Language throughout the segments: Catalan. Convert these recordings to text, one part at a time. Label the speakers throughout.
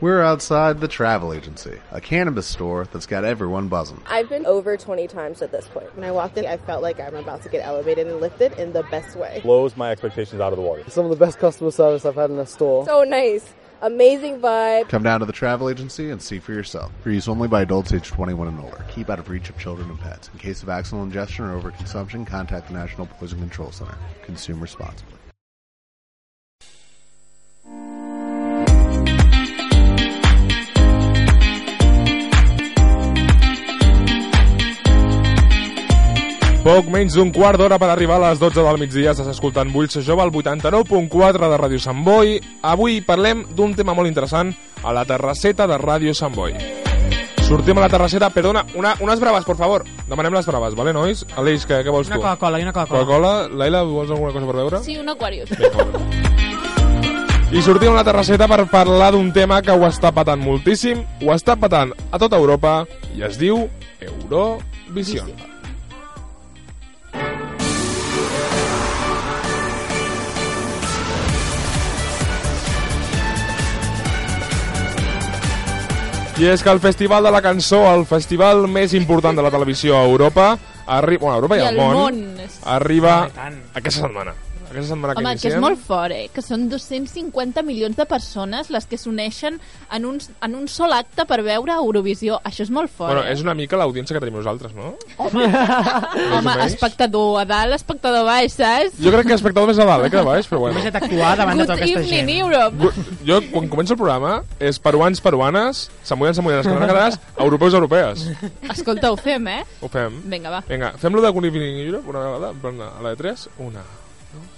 Speaker 1: We're outside the travel agency, a cannabis store that's got everyone buzzing.
Speaker 2: I've been over 20 times at this point.
Speaker 3: When I walked in, I felt like I'm about to get elevated and lifted in the best way.
Speaker 4: Blows my expectations out of the water.
Speaker 5: Some of the best customer service I've had in a store.
Speaker 2: So nice. Amazing vibe.
Speaker 1: Come down to the travel agency and see for yourself. For use only by adults aged 21 and older. Keep out of reach of children and pets. In case of accidental ingestion or overconsumption, contact the National Poison Control Center. Consume responsibly.
Speaker 6: Poc menys d'un quart d'hora per arribar a les 12 del migdia estàs escoltant Vull ser jove al 89.4 de Ràdio Sant Boi. Avui parlem d'un tema molt interessant a la terrasseta de Ràdio Sant Boi. Sortim a la terrasseta, perdona, una, unes braves, por favor. Demanem les braves, vale, nois? Aleix, què, què vols
Speaker 7: Una
Speaker 6: tu?
Speaker 7: Coca-Cola i una Coca-Cola.
Speaker 6: Coca-Cola? Laila, vols alguna cosa per beure?
Speaker 8: Sí, un Aquarius.
Speaker 6: I sortim a la terrasseta per parlar d'un tema que ho està patant moltíssim, ho està patant a tota Europa i es diu Eurovision. I és que el Festival de la Cançó, el festival més important de la televisió a Europa, arri... bueno, a Europa i,
Speaker 8: I
Speaker 6: al
Speaker 8: al
Speaker 6: món,
Speaker 8: món.
Speaker 6: arriba
Speaker 7: Home, i tant.
Speaker 6: aquesta setmana. Aquesta setmana
Speaker 8: Home,
Speaker 6: que
Speaker 8: que és
Speaker 6: iniciem.
Speaker 8: molt fort, eh? Que són 250 milions de persones les que s'uneixen en, un, en un sol acte per veure Eurovisió. Això és molt fort.
Speaker 6: Bueno,
Speaker 8: eh?
Speaker 6: és una mica l'audiència que tenim nosaltres, no?
Speaker 8: Home,
Speaker 6: menys.
Speaker 8: espectador a dalt, espectador a baix, saps?
Speaker 6: Jo crec que espectador més a dalt, eh, que a baix, però bueno.
Speaker 7: Només he d'actuar davant de
Speaker 8: Good
Speaker 7: tota aquesta
Speaker 8: evening,
Speaker 7: gent.
Speaker 8: Europe!
Speaker 6: Gu- Jo, quan comença el programa, és peruans, peruanes, samoyans, samoyanes, catalanes, catalanes, europeus, europees.
Speaker 8: Escolta, ho fem, eh?
Speaker 6: Ho fem.
Speaker 8: Vinga, va.
Speaker 6: Vinga, fem-lo de Good Evening Europe una vegada, en plan, a la de 3, una, dos...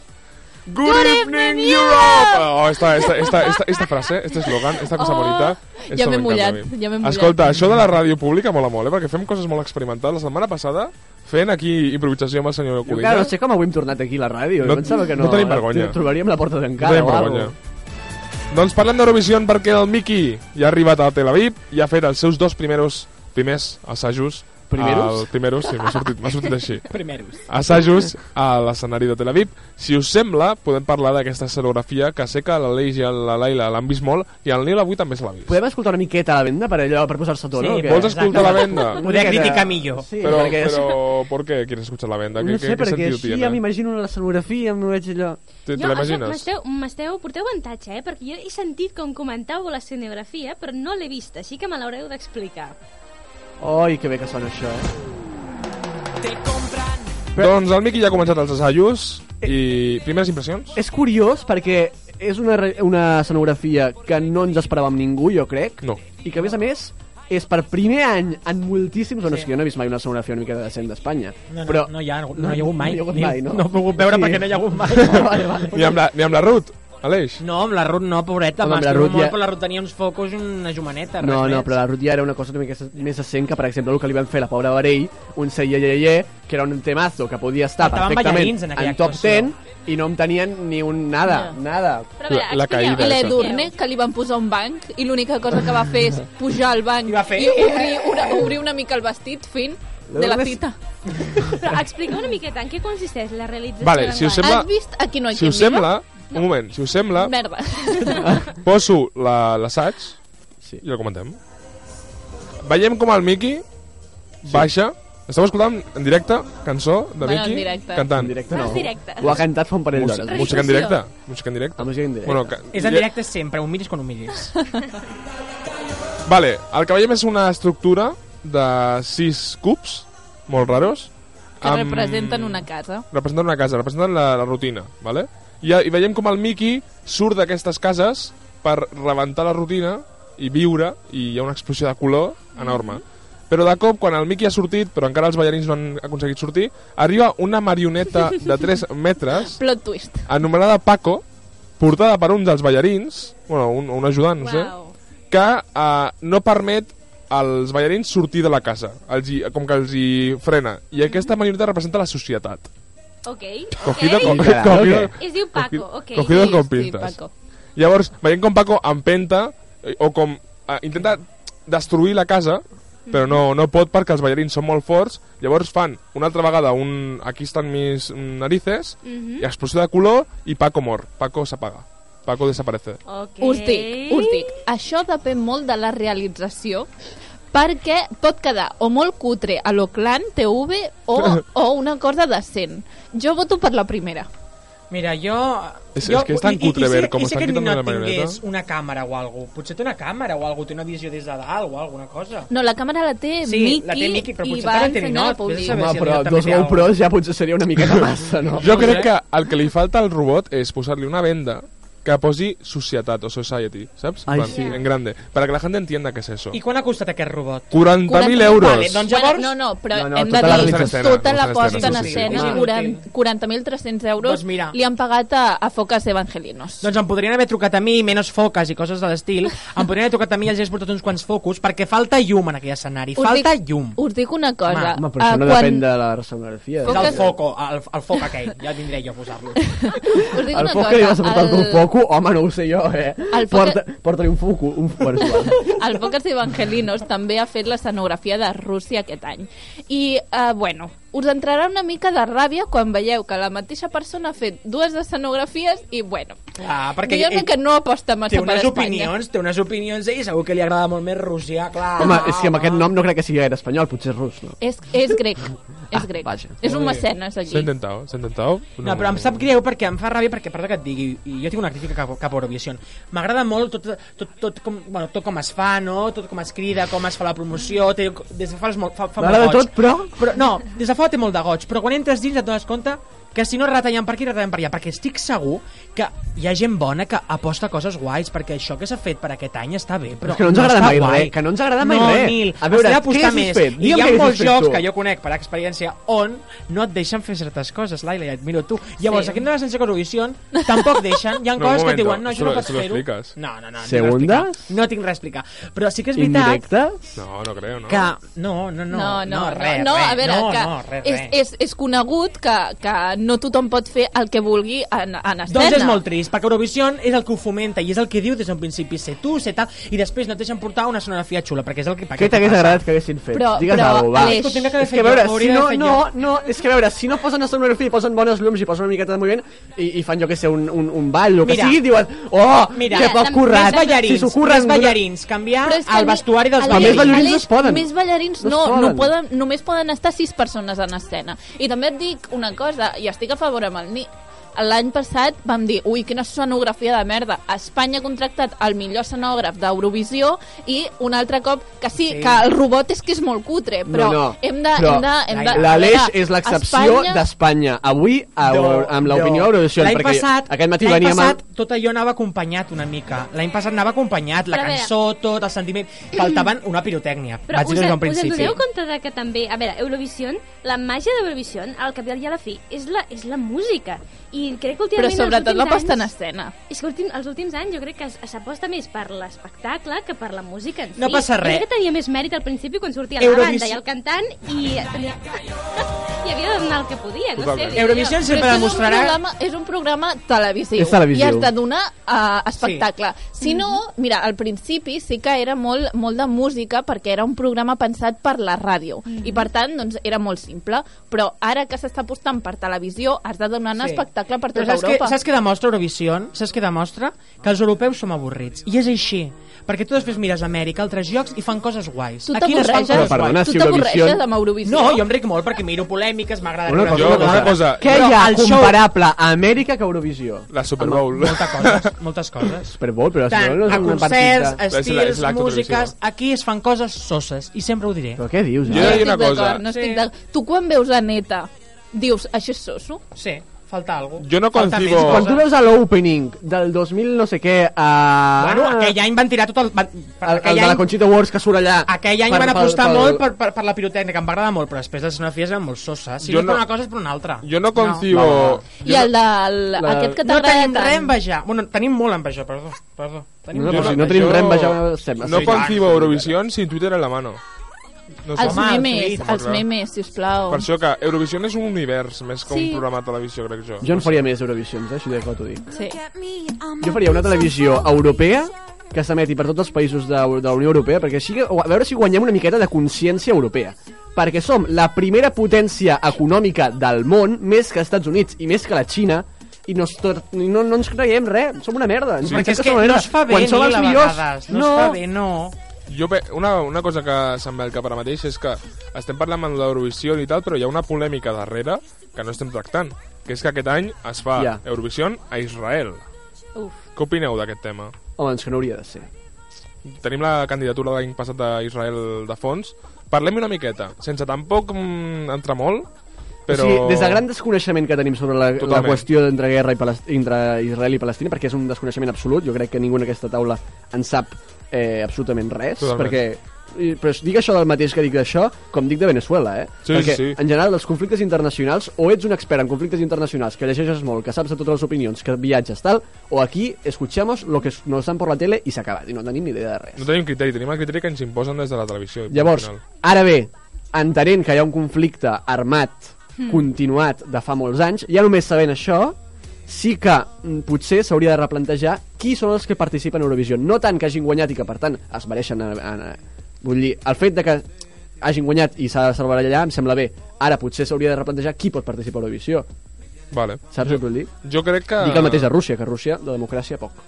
Speaker 6: Good,
Speaker 8: evening,
Speaker 6: Oh, esta, esta, esta, esta, esta frase, este eslogan, esta cosa
Speaker 8: Oh,
Speaker 6: bonita...
Speaker 8: ja
Speaker 6: esto
Speaker 8: m'he
Speaker 6: m'encanta
Speaker 8: mullat,
Speaker 6: a mi.
Speaker 8: ja m'he mullat.
Speaker 6: Escolta, això de la ràdio pública mola molt, eh? Perquè fem coses molt experimentals. La setmana passada, fent aquí improvisació amb el senyor
Speaker 5: Jo
Speaker 6: Codina...
Speaker 5: encara no sé com avui hem tornat aquí a la ràdio.
Speaker 6: No-
Speaker 5: No, pensava que
Speaker 6: no
Speaker 5: no.
Speaker 6: tenim vergonya.
Speaker 5: Trobaríem la porta
Speaker 6: No
Speaker 5: tancada.
Speaker 6: tenim
Speaker 5: o alguna
Speaker 6: vergonya. Doncs parlem d'Eurovisió perquè el Miki ja ha arribat a Tel Aviv i ha fet els seus dos primeros, primers assajos.
Speaker 5: Primeros?
Speaker 6: Al, primeros, sí, m'ha sortit, m'ha sortit així.
Speaker 7: Primeros.
Speaker 6: Assajos a l'escenari de Tel Aviv. Si us sembla, podem parlar d'aquesta escenografia que sé que l'Aleix i la Laila l'han vist molt i el Nil avui també se l'ha vist.
Speaker 5: Podem escoltar una miqueta a la venda per allò, per posar-se a tono?
Speaker 7: Sí,
Speaker 5: o què?
Speaker 6: Vols
Speaker 7: exacte.
Speaker 6: escoltar la venda?
Speaker 5: Una
Speaker 7: Poder
Speaker 5: miqueta.
Speaker 7: criticar millor.
Speaker 5: Sí,
Speaker 6: Però,
Speaker 5: perquè...
Speaker 6: però, ¿por qué quieres escuchar la venda?
Speaker 5: No
Speaker 6: ¿Qué,
Speaker 5: sé,
Speaker 6: qué, qué
Speaker 5: perquè
Speaker 6: sentido
Speaker 5: així
Speaker 6: tiene?
Speaker 5: ja m'imagino una escenografia amb allò...
Speaker 6: ¿Te, te
Speaker 9: Jo, això,
Speaker 6: la imagines?
Speaker 9: M'esteu, m'esteu, porteu avantatge, eh? Perquè jo he sentit com comentàveu l'escenografia, però no l'he vista, així que me l'haureu d'explicar.
Speaker 5: Oi, que bé que sona això, eh?
Speaker 6: Doncs el Miki ja ha començat els assajos i primeres impressions?
Speaker 5: És curiós perquè és una, re- una escenografia que no ens esperàvem ningú, jo crec.
Speaker 6: No.
Speaker 5: I que, a més a més, és per primer any en moltíssims... Bueno, és que jo no he vist mai una escenografia una mica decent d'Espanya.
Speaker 7: No, no,
Speaker 5: però...
Speaker 7: no, hi ha, no, hi ha hagut mai.
Speaker 5: No hi ha hagut
Speaker 7: Ni-
Speaker 5: mai, no?
Speaker 7: No he pogut veure perquè no hi ha hagut mai.
Speaker 5: vale, vale.
Speaker 6: Ni amb la, ni amb la Ruth, Aleix?
Speaker 7: No, amb la Ruth no, pobreta.
Speaker 5: Home, amb la
Speaker 7: M'estimo
Speaker 5: Ruth
Speaker 7: molt,
Speaker 5: ja-
Speaker 7: però la Ruth tenia uns focos i una jumaneta. res
Speaker 5: No, no,
Speaker 7: més.
Speaker 5: però la Ruth ja era una cosa una mica més decent que, per exemple, el que li van fer a la pobra Varell, un seieyeyeye, que era un temazo que podia estar
Speaker 7: Faltaven
Speaker 5: perfectament
Speaker 7: ballarins en
Speaker 5: en,
Speaker 7: aquella
Speaker 5: top
Speaker 7: actuació.
Speaker 5: 10 i no en tenien ni un nada,
Speaker 8: No.
Speaker 5: nada.
Speaker 9: Però a veure,
Speaker 6: La- la
Speaker 9: expliqueu,
Speaker 6: caïda,
Speaker 8: I
Speaker 6: Mira, això.
Speaker 8: l'Edurne, que li van posar un banc i l'única cosa que va fer és pujar al banc
Speaker 7: I va fer-
Speaker 8: i obrir una, obrir una mica el vestit, fin, de la
Speaker 5: L'Edurne és-
Speaker 8: tita.
Speaker 9: Però expliqueu una miqueta en què consisteix la realització
Speaker 6: Vale, si
Speaker 9: d'enguany.
Speaker 6: us Sembla-
Speaker 8: Has vist Aquí no hi ha
Speaker 6: Si
Speaker 8: quien
Speaker 6: us
Speaker 8: viva?
Speaker 6: sembla, un moment, si us sembla,
Speaker 8: Merda.
Speaker 6: poso la- l'assaig
Speaker 5: Sí.
Speaker 6: i el comentem. Veiem com el Miki baixa... Esteu escoltant en directe cançó de
Speaker 8: Bueno, en
Speaker 6: Miki
Speaker 8: directe.
Speaker 5: En
Speaker 6: cantant.
Speaker 5: directe
Speaker 9: No,
Speaker 5: no.
Speaker 9: és directe.
Speaker 5: Ho ha cantat fa un parell
Speaker 6: Música,
Speaker 5: d'hores.
Speaker 6: música en
Speaker 8: Revisió.
Speaker 6: directe. Ah, eh, Música en directe.
Speaker 5: La música en directe.
Speaker 6: Bueno, que,
Speaker 7: És en directe sempre, ho miris quan ho miris.
Speaker 6: Vale, el que veiem és una estructura de sis cubs, molt raros.
Speaker 8: Que representen una casa.
Speaker 6: representen una casa, representen la, la rutina, vale? I, I veiem com el Mickey surt d'aquestes cases per rebentar la rutina i viure, i hi ha una explosió de color enorme. Però de cop, quan el Mickey ha sortit, però encara els ballarins no han aconseguit sortir, arriba una marioneta de 3 metres,
Speaker 8: Plot twist.
Speaker 6: anomenada Paco, portada per un dels ballarins, bueno, un, un ajudant, no sé,
Speaker 8: Uau.
Speaker 6: que eh, no permet als ballarins sortir de la casa, els hi, com que els hi frena. I aquesta marioneta representa la societat.
Speaker 9: Ok,
Speaker 6: Cogido
Speaker 9: ok.
Speaker 6: con,
Speaker 5: Sí, claro,
Speaker 6: cogido,
Speaker 9: Es diu Paco, ok.
Speaker 6: cogido
Speaker 8: Sí,
Speaker 6: con
Speaker 8: sí,
Speaker 6: pinzas.
Speaker 8: Paco.
Speaker 6: Llavors, veiem com Paco empenta eh, o com eh, intenta destruir la casa, però no, no pot perquè els ballarins són molt forts. Llavors fan una altra vegada
Speaker 7: Mhm.
Speaker 6: un... Aquí estan mis mm, narices, i explosió de color i Paco mor. Paco s'apaga. Paco desaparece.
Speaker 9: Ok.
Speaker 8: Us dic, us dic, això depèn molt de la realització perquè pot quedar o molt cutre a l'Oclan TV o, o una cosa decent. Jo voto per la primera.
Speaker 7: Mira, jo...
Speaker 6: És-
Speaker 7: jo
Speaker 6: és que és tan
Speaker 7: i- i- i
Speaker 6: cutre
Speaker 7: sé-
Speaker 6: veure com
Speaker 7: i sé
Speaker 6: estan
Speaker 7: que
Speaker 6: quitant
Speaker 7: Ninot
Speaker 6: la marioneta.
Speaker 7: tingués una càmera o alguna Potser té una càmera o alguna té una visió des de dalt o alguna cosa.
Speaker 8: No, la càmera la té
Speaker 7: Sí,
Speaker 8: Miki,
Speaker 7: la té Miki, però
Speaker 8: i
Speaker 7: potser
Speaker 8: va
Speaker 7: també té
Speaker 8: ensenyar al
Speaker 7: Ninot, vés a
Speaker 8: públic.
Speaker 7: saber.
Speaker 5: Home,
Speaker 7: si el
Speaker 5: però
Speaker 7: Ninot també
Speaker 5: dos
Speaker 7: té alguna
Speaker 5: GoPros ja potser seria una miqueta massa, no?
Speaker 6: Jo
Speaker 7: No
Speaker 6: crec
Speaker 7: sé.
Speaker 6: que el que li falta al robot és posar-li una venda que posi societat o society, saps?
Speaker 5: Ai,
Speaker 6: Plan,
Speaker 5: sí.
Speaker 6: En grande, para que la gente entienda qué es eso.
Speaker 7: I quan ha costat aquest robot?
Speaker 6: 40.000
Speaker 8: 40.000
Speaker 6: euros.
Speaker 7: Vale, doncs llavors...
Speaker 8: Bueno, no, no, però
Speaker 5: No, no,
Speaker 8: hem de
Speaker 5: tota la
Speaker 8: dir
Speaker 5: realització.
Speaker 8: tota
Speaker 6: Escena,
Speaker 8: la
Speaker 6: tota
Speaker 8: posta en
Speaker 6: l'escena, sí, sí,
Speaker 8: escena,
Speaker 7: sí.
Speaker 8: 40
Speaker 7: Ah.
Speaker 8: 40.300 euros,
Speaker 7: Doncs mira.
Speaker 8: li han pagat a, a Focas Evangelinos.
Speaker 7: Doncs em podrien haver trucat a mi, menys foques i coses de l'estil, em podrien haver trucat a mi i els hagués portat uns quants focus, perquè falta llum en aquell escenari,
Speaker 8: Us
Speaker 7: falta
Speaker 8: dic-
Speaker 7: llum.
Speaker 8: Us dic una cosa.
Speaker 5: Home, però això
Speaker 8: eh,
Speaker 5: no depèn de la sonografia.
Speaker 7: És
Speaker 8: Foques-
Speaker 7: el foco, el, el foc aquell, ja vindré jo a posar-lo.
Speaker 8: Us dic
Speaker 5: El
Speaker 8: una
Speaker 5: foc
Speaker 8: cosa.
Speaker 5: que li vas a portar
Speaker 8: el-
Speaker 5: el... un foco? Home, no ho sé jo, eh?
Speaker 8: El foc-
Speaker 5: Porta, porta-li un foco. Un... Bueno, és igual.
Speaker 8: El Focus Evangelinos també ha fet l'escenografia de Rússia aquest any. I, eh, bueno, us entrarà una mica de ràbia quan veieu que la mateixa persona ha fet dues escenografies i, bueno,
Speaker 7: Clar, Ah, perquè
Speaker 8: diguem-ne
Speaker 7: ell
Speaker 8: que no aposta massa
Speaker 7: té
Speaker 8: per
Speaker 7: unes
Speaker 8: Espanya.
Speaker 7: opinions, té unes opinions ell, segur que li agrada molt més Rússia, clar.
Speaker 5: Home, és que amb aquest nom no crec que sigui gaire espanyol, potser és rus, no?
Speaker 8: És, és grec, és
Speaker 5: Ah,
Speaker 8: grec.
Speaker 5: vaja.
Speaker 8: És un mecenes,
Speaker 6: S'ha
Speaker 8: aquí.
Speaker 6: intentat, s'ha intentat.
Speaker 7: No, però em sap greu perquè em fa ràbia perquè, perdó que et digui, i jo tinc una crítica cap, cap a Eurovision. M'agrada molt tot, tot, tot, com, bueno, tot com es fa, no? Tot com es crida, com es fa la promoció, té, des de fa, molt, fa, fa molt
Speaker 5: M'agrada
Speaker 7: goig.
Speaker 5: tot, però...
Speaker 7: Però, no, des de fora té molt de goig, però quan entres dins et dones compte que si no retallen per aquí, retallen per allà, perquè estic segur que hi ha gent bona que aposta coses guais, perquè això que s'ha fet per aquest any està bé, però
Speaker 5: És que no ens agrada
Speaker 7: està
Speaker 5: mai
Speaker 7: guai.
Speaker 5: res, que no ens agrada mai res.
Speaker 7: Nil,
Speaker 5: A veure,
Speaker 7: has
Speaker 5: què
Speaker 7: d'apostar
Speaker 5: has
Speaker 7: més.
Speaker 5: fet?
Speaker 7: I
Speaker 5: Digue'm
Speaker 7: hi ha
Speaker 5: què has
Speaker 7: molts
Speaker 5: fet
Speaker 7: jocs
Speaker 5: tu.
Speaker 7: que jo conec per experiència on no et deixen fer certes coses, Laila, ja et miro tu. Llavors,
Speaker 8: Sí.
Speaker 7: aquí em dóna la sensació que Eurovisió tampoc deixen, hi ha
Speaker 6: No, un
Speaker 7: coses que
Speaker 6: momento,
Speaker 7: et diuen, no, això
Speaker 6: esto
Speaker 7: no
Speaker 6: lo-
Speaker 7: pots
Speaker 6: esto lo
Speaker 7: fer-ho.
Speaker 6: explicas.
Speaker 7: No, no, no, no,
Speaker 5: Segundes?
Speaker 7: no tinc res a explicar. Però sí que és veritat
Speaker 5: Indirectes?
Speaker 6: No, no creo, no.
Speaker 7: que... No, no, no,
Speaker 8: no, no,
Speaker 7: res,
Speaker 8: no,
Speaker 7: res,
Speaker 8: a veure,
Speaker 7: no,
Speaker 8: que
Speaker 7: no, res,
Speaker 8: és,
Speaker 7: res.
Speaker 8: és, és conegut que, que no tothom pot fer el que vulgui en, en escena.
Speaker 7: Doncs és molt trist, perquè Eurovision és el que ho fomenta i és el que diu des d'un principi, sé tu, sé tal, i després no et deixen portar una sonografia xula, perquè és el que...
Speaker 5: Què t'hagués agradat que haguessin fet?
Speaker 8: Però-
Speaker 5: Digues
Speaker 8: però,
Speaker 5: alguna cosa, va.
Speaker 8: Aleix,
Speaker 7: Escolta, tindrà que haver
Speaker 5: És
Speaker 7: fet
Speaker 5: que a veure,
Speaker 7: jo,
Speaker 5: si
Speaker 7: hauria
Speaker 5: no,
Speaker 7: d'haver fet
Speaker 5: no,
Speaker 7: jo.
Speaker 5: no, és que a veure, si no posen la sonografia i posen bones llums i posen una miqueta de moviment i, i fan, jo que sé, un, un, un ball o que
Speaker 7: Mira.
Speaker 5: sigui, diuen, oh,
Speaker 7: Mira,
Speaker 5: que poc
Speaker 8: també
Speaker 5: currat,
Speaker 7: Més ballarins,
Speaker 5: si s'ho curren...
Speaker 7: més ballarins,
Speaker 5: Ah,
Speaker 7: canviar
Speaker 8: Però és que a
Speaker 7: el
Speaker 8: mi-
Speaker 7: vestuari dels
Speaker 8: a
Speaker 5: Però més
Speaker 8: mi-
Speaker 5: ballarins
Speaker 7: ballarins.
Speaker 8: a
Speaker 5: no es poden.
Speaker 8: Més ballarins
Speaker 5: No
Speaker 8: no,
Speaker 5: es
Speaker 8: no,
Speaker 5: poden.
Speaker 8: poden, només poden estar sis persones en escena. I també et dic una cosa, i estic a favor amb el Ni. L'any passat vam dir, ui, quina sonografia de merda. Espanya ha contractat el millor escenògraf d'Eurovisió i un altre cop que sí,
Speaker 7: Sí.
Speaker 8: sí, que el robot és que és molt cutre, però
Speaker 5: no, no.
Speaker 8: hem de...
Speaker 5: però
Speaker 8: hem de, hem de
Speaker 5: L'Aleix
Speaker 8: a veure,
Speaker 5: és l'excepció
Speaker 8: Espanya-
Speaker 5: d'Espanya. Avui, a, amb l'opinió Eurovision,
Speaker 7: L'any
Speaker 5: perquè
Speaker 7: passat,
Speaker 5: aquest matí
Speaker 7: l'any
Speaker 5: veníem...
Speaker 7: passat
Speaker 5: amb-
Speaker 7: tot allò anava acompanyat una mica. L'any passat anava acompanyat, la
Speaker 8: Però a veure.
Speaker 7: cançó, tot, el sentiment... Faltaven una pirotècnia,
Speaker 9: Però
Speaker 7: vaig
Speaker 9: us,
Speaker 7: dir des
Speaker 9: en-
Speaker 7: d'un principi.
Speaker 9: us en doneu compte de que també... A veure, Eurovision, la màgia d'Eurovision, al cap i a la fi, és la, és la música. I crec que
Speaker 8: Però
Speaker 9: últimament...
Speaker 8: sobretot la posta
Speaker 9: pasta
Speaker 8: en escena.
Speaker 9: És que últim, els últims anys jo crec que s- s'aposta més per l'espectacle que per la música en si.
Speaker 7: No passa res.
Speaker 9: Jo crec que tenia més mèrit al principi quan sortia la
Speaker 7: Eurovisió-
Speaker 9: banda i el cantant i... I havia de donar el que podia, no sé.
Speaker 6: Totalment.
Speaker 9: dic jo.
Speaker 7: Eurovision sempre
Speaker 8: Però és que És un
Speaker 7: demostrarà...
Speaker 8: programa, és un programa televisiu.
Speaker 5: És televisiu.
Speaker 8: I has de donar uh, espectacle. Sí. Si no, mira, al principi sí que era molt, molt de música perquè era un programa pensat per la ràdio.
Speaker 7: Mm.
Speaker 8: I per tant, doncs, era molt simple. Però ara que s'està apostant per televisió, has de donar un
Speaker 7: Sí.
Speaker 8: espectacle per
Speaker 7: Però
Speaker 8: tota
Speaker 7: saps
Speaker 8: Europa.
Speaker 7: Què, saps què demostra Eurovision? Saps què demostra? Que els europeus som avorrits. I és així. Perquè tu després mires Amèrica, altres llocs, i fan coses guais.
Speaker 8: Tu
Speaker 7: Aquí les fan
Speaker 5: Però
Speaker 8: t'avorreixes
Speaker 7: coses
Speaker 5: perdona,
Speaker 7: guais.
Speaker 5: si
Speaker 8: tu t'avorreixes
Speaker 5: Eurovision-
Speaker 8: amb Eurovisió?
Speaker 7: No, jo em ric molt perquè miro polèmiques, m'agrada...
Speaker 5: Una
Speaker 7: riure
Speaker 5: cosa,
Speaker 7: amb
Speaker 5: una
Speaker 7: tot.
Speaker 5: cosa.
Speaker 6: cosa.
Speaker 5: Què
Speaker 7: Però
Speaker 5: hi ha
Speaker 7: el show-
Speaker 5: comparable a Amèrica que a Eurovisió?
Speaker 6: La Super Bowl.
Speaker 7: Moltes coses, moltes coses.
Speaker 5: Super Bowl, però si
Speaker 7: Tant,
Speaker 5: no, no és
Speaker 7: a
Speaker 5: una
Speaker 7: concerts,
Speaker 5: partida...
Speaker 6: És la- és
Speaker 7: estils,
Speaker 6: l'acte
Speaker 7: músiques...
Speaker 6: televisiu.
Speaker 7: Aquí es fan coses soses, i sempre ho diré.
Speaker 5: Però què dius?
Speaker 6: Jo
Speaker 8: no
Speaker 5: ara?
Speaker 6: diria
Speaker 8: estic
Speaker 6: una cosa.
Speaker 8: d'acord, No estic
Speaker 7: Sí.
Speaker 8: d'acord. Tu quan veus a Neta, dius, això és soso?
Speaker 7: Sí, falta alguna cosa.
Speaker 6: Jo no concibo-
Speaker 5: Quan tu veus a l'opening del 2000 no sé què a...
Speaker 7: Bueno, aquell any van tirar tot el... Van,
Speaker 5: Ah. el, el de la Conchita Wars que surt allà.
Speaker 7: Aquell any
Speaker 5: per-
Speaker 7: van
Speaker 5: per-
Speaker 7: apostar
Speaker 5: per-
Speaker 7: molt per, per, per la pirotècnica, em va agradar molt, però després les escenografies eren molt soses. Si
Speaker 6: Jo
Speaker 7: no, és per
Speaker 6: no-
Speaker 7: una cosa és per una altra.
Speaker 6: Yo no
Speaker 5: No,
Speaker 6: concibo...
Speaker 5: no,
Speaker 8: I el del...
Speaker 5: La-
Speaker 8: Aquest que
Speaker 7: No
Speaker 8: t'agrada
Speaker 7: tenim
Speaker 8: tant.
Speaker 7: res a envejar. Bueno, tenim molt a envejar, perdó. perdó. Tenim
Speaker 5: No,
Speaker 7: molt
Speaker 5: però
Speaker 7: a
Speaker 5: si no
Speaker 7: envejar.
Speaker 5: tenim
Speaker 6: yo
Speaker 5: res, vegem, sembla.
Speaker 6: No
Speaker 5: Sí,
Speaker 6: concibo Eurovisión sin Twitter en la mano. No sé.
Speaker 8: Els
Speaker 7: Home,
Speaker 8: memes,
Speaker 7: sí,
Speaker 6: home,
Speaker 8: els
Speaker 6: clar.
Speaker 8: memes, sisplau.
Speaker 6: Per això que Eurovision és un univers més que un
Speaker 8: Sí.
Speaker 6: programa de televisió, crec jo.
Speaker 5: Jo en faria més Eurovisions, eh? això ja t'ho dic.
Speaker 8: Sí.
Speaker 5: Jo faria una televisió europea que s'emeti per tots els països de, de la Unió Europea, perquè així, que- a veure si guanyem una miqueta de consciència europea. Perquè som la primera potència econòmica del món, més que als Estats Units i més que la Xina, i no, es tot, i no, no ens creiem res, som una merda. Ens
Speaker 6: Sí.
Speaker 5: pensem
Speaker 7: Perquè és
Speaker 5: som
Speaker 7: que
Speaker 5: una
Speaker 7: no
Speaker 5: merda.
Speaker 7: es fa bé
Speaker 5: Quan som
Speaker 7: ni
Speaker 5: els
Speaker 7: a
Speaker 5: millors,
Speaker 7: vegades. No, es fa bé, no.
Speaker 6: Jo, pe- una, una cosa que se'm ve al cap ara mateix és que estem parlant amb l'Eurovisió i tal, però hi ha una polèmica darrere que no estem tractant, que és que aquest any es fa
Speaker 5: Ja.
Speaker 6: Eurovisió a Israel.
Speaker 9: Uf.
Speaker 6: Què opineu d'aquest tema?
Speaker 5: Home, doncs que no hauria de ser.
Speaker 6: Tenim la candidatura de l'any passat d'Israel de fons. Parlem una miqueta, sense tampoc mm, entrar molt, però...
Speaker 5: Però... O sigui, des del gran desconeixement que tenim sobre la, la
Speaker 6: Totalment.
Speaker 5: qüestió entre guerra i Palest- entre Israel i Palestina, perquè és un desconeixement absolut, jo crec que ningú en aquesta taula en sap eh, absolutament res,
Speaker 6: Totalment.
Speaker 5: perquè i- però dic això del mateix que dic d'això, com dic de Venezuela, eh?
Speaker 6: Sí,
Speaker 5: perquè,
Speaker 6: sí, sí.
Speaker 5: en general, els conflictes internacionals, o ets un expert en conflictes internacionals, que llegeixes molt, que saps de totes les opinions, que viatges, tal, o aquí escuchamos lo que nos dan por la tele i s'ha acabat, i no tenim ni idea de res.
Speaker 6: No tenim criteri, tenim el criteri que ens imposen des de la televisió. i punt
Speaker 5: Llavors,
Speaker 6: final.
Speaker 5: ara bé, entenent que hi ha un conflicte armat
Speaker 8: Hmm.
Speaker 5: continuat de fa molts anys, ja només sabent això, sí que mm, potser s'hauria de replantejar qui són els que participen a Eurovisió. No tant que hagin guanyat i que, per tant, es mereixen... A, a, a, vull dir, el fet de que hagin guanyat i s'ha de salvar allà em sembla bé. Ara potser s'hauria de replantejar qui pot participar a Eurovisió.
Speaker 6: Vale.
Speaker 5: Saps què vull dir?
Speaker 6: Jo crec que...
Speaker 5: Dic el mateix a Rússia, que a Rússia de democràcia poc.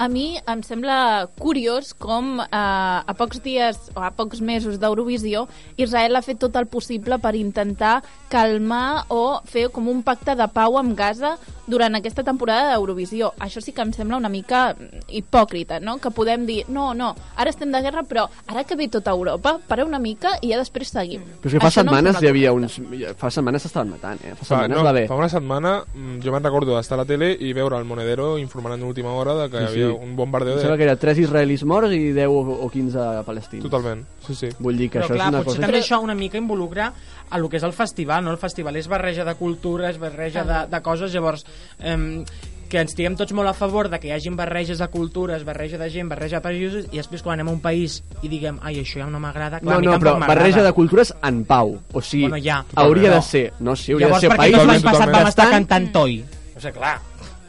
Speaker 8: A mi em sembla curiós com eh, a pocs dies o a pocs mesos d'Eurovisió Israel ha fet tot el possible per intentar calmar o fer com un pacte de pau amb Gaza durant aquesta temporada d'Eurovisió. Això sí que em sembla una mica mm, hipòcrita, no? Que podem dir, no, no, ara estem de guerra, però ara que ve tota Europa, para una mica i ja després seguim.
Speaker 5: Però és que fa
Speaker 8: Això no em
Speaker 5: setmanes
Speaker 8: sembla
Speaker 5: hi havia
Speaker 8: correcte.
Speaker 5: uns... Fa setmanes s'estaven matant, eh? Fa
Speaker 6: Fa,
Speaker 5: setmanes
Speaker 6: no,
Speaker 5: va haver...
Speaker 6: fa una setmana mm, jo me'n recordo d'estar a la tele i veure el Monedero informant en última hora de que
Speaker 5: Sí,
Speaker 6: sí,
Speaker 5: sí.
Speaker 6: hi havia un bombardeo
Speaker 5: Em sembla
Speaker 6: de...
Speaker 5: que era 3 israelis morts i 10 o o 15 palestins.
Speaker 6: Totalment, sí, sí.
Speaker 5: Vull dir que
Speaker 7: Però
Speaker 5: això
Speaker 7: clar,
Speaker 5: és una
Speaker 7: potser
Speaker 5: cosa...
Speaker 7: també això una mica involucra a lo que és el festival, no? El festival és barreja de cultures, barreja de, de coses, llavors... Ehm, que ens estiguem tots molt a favor de que hi hagin barreges de cultures, barreja de gent, barreja de països, i després quan anem a un país i diguem ai, això ja no m'agrada, clar,
Speaker 5: No,
Speaker 7: a mi
Speaker 5: no,
Speaker 7: tampoc
Speaker 5: però
Speaker 7: m'agrada.
Speaker 5: barreja de cultures en pau. O sigui,
Speaker 7: Bueno, ja.
Speaker 5: hauria de
Speaker 7: Totalment.
Speaker 5: ser... No, sí, hauria
Speaker 7: Llavors,
Speaker 5: de ser
Speaker 7: per què
Speaker 5: país...
Speaker 7: no l'any
Speaker 6: Totalment,
Speaker 7: passat vam estar
Speaker 5: Bastant-
Speaker 7: cantant Toi? O sigui, clar,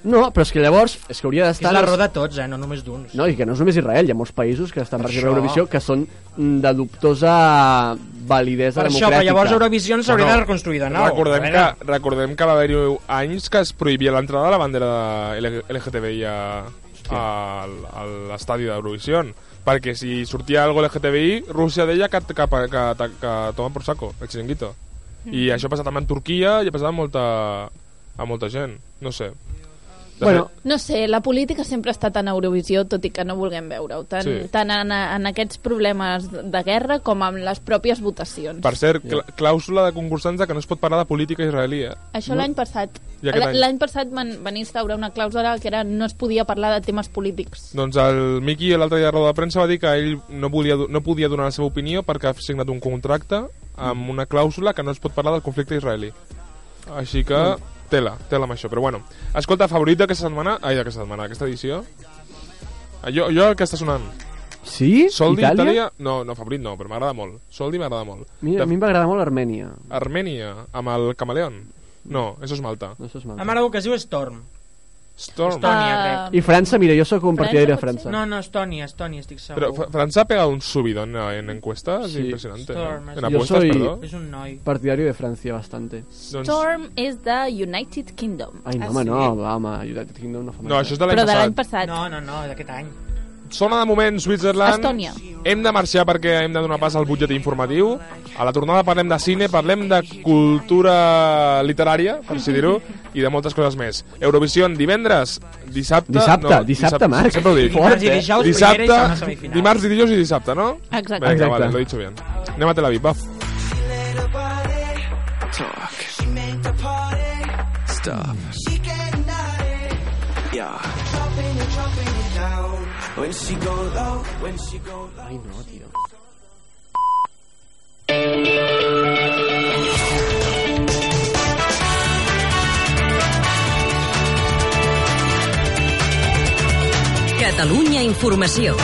Speaker 5: No, però és que llavors és que hauria
Speaker 7: és
Speaker 5: d'estar...
Speaker 7: la roda de tots, eh? No només d'uns.
Speaker 5: No, i que no és només Israel, hi ha molts països que estan per
Speaker 7: això.
Speaker 5: Eurovisió que són mm, de dubtosa validesa
Speaker 7: per això,
Speaker 5: democràtica.
Speaker 7: però llavors Eurovisió ens hauria
Speaker 6: Bueno,
Speaker 7: de reconstruir de nou.
Speaker 6: recordem,
Speaker 7: A veure.
Speaker 6: que, recordem que va haver-hi anys que es prohibia l'entrada de la bandera de L- LGTBI a, a, a l'estadi d'Eurovisió perquè si sortia algo LGTBI Rússia deia que, que, que, que, que toma por saco el xiringuito i això ha passat també en Turquia i ha passat a molta, a molta gent no sé De
Speaker 5: Bueno,
Speaker 8: No sé, la política sempre ha estat en Eurovisió, tot i que no vulguem veure-ho, tant,
Speaker 6: Sí.
Speaker 8: sí. tant en, en aquests problemes de guerra com amb les pròpies votacions. Per...
Speaker 6: Per cert, cl clàusula de concursants de que no es pot parlar de política israelí, eh?
Speaker 8: Això l'any passat.
Speaker 6: I aquest any?
Speaker 8: L'any passat van, van instaurar una clàusula que era no es podia parlar de temes polítics.
Speaker 6: Doncs el Miki l'altre dia a la roda de premsa va dir que ell no, volia, do- no podia donar la seva opinió perquè ha signat un contracte amb una clàusula que no es pot parlar del conflicte israelí. Així que...
Speaker 5: Mm.
Speaker 6: Tela, tela amb això, però bueno. Escolta, favorit d'aquesta setmana... Ai, d'aquesta setmana, d'aquesta edició... Ah, Jo, jo el que està sonant.
Speaker 5: sí?
Speaker 6: Soldi,
Speaker 5: Itàlia?
Speaker 6: Itàlia... No, no, favorit no, però m'agrada molt. Soldi m'agrada molt.
Speaker 5: Mira, a mi em va agradar molt Armènia.
Speaker 6: Armènia, amb el camaleón. No, això és Malta.
Speaker 5: No sé,
Speaker 7: A Mare que es diu Storm.
Speaker 6: Storm.
Speaker 7: Estònia,
Speaker 8: Ah.
Speaker 7: crec.
Speaker 5: I França, mira, jo sóc un partidari de França.
Speaker 8: França,
Speaker 7: No, no, Estònia, Estònia, estic segur.
Speaker 6: Pero Fra- Francia ha pegado un subidón en encuestas
Speaker 5: Sí.
Speaker 6: impresionante. ¿no?
Speaker 7: Storm,
Speaker 6: En
Speaker 7: sí.
Speaker 6: apuestas,
Speaker 5: Yo soy-
Speaker 6: perdón.
Speaker 7: És un noi.
Speaker 5: Partidari de França, bastante.
Speaker 6: Doncs-
Speaker 8: Storm és de United Kingdom.
Speaker 5: Ai, no, home, no, va, home, United Kingdom no fa
Speaker 6: No, això és de l'any
Speaker 8: Però de l'any
Speaker 6: passat.
Speaker 8: passat. No.
Speaker 7: No, no, no, d'aquest any.
Speaker 6: Sona de moment Switzerland.
Speaker 8: Estònia.
Speaker 6: Hem de marxar perquè hem de donar pas al butlletí informatiu. A la tornada parlem de cine, parlem de cultura literària, per si dir-ho, i de moltes coses més. Eurovisió divendres, dissabte...
Speaker 5: Dissabte,
Speaker 6: no,
Speaker 5: dissabte, Marc.
Speaker 6: Sempre ho dic.
Speaker 5: Fort,
Speaker 7: Dimarts i
Speaker 5: eh?
Speaker 7: dijous, primera i segona
Speaker 6: Dissabte,
Speaker 7: semifinal.
Speaker 6: dimarts i dijous i dissabte, no?
Speaker 8: Exacte.
Speaker 6: Vinga,
Speaker 5: Exacte.
Speaker 6: vale, lo he dicho bien. Anem a Tel Aviv, va.
Speaker 10: Catalunya Informació.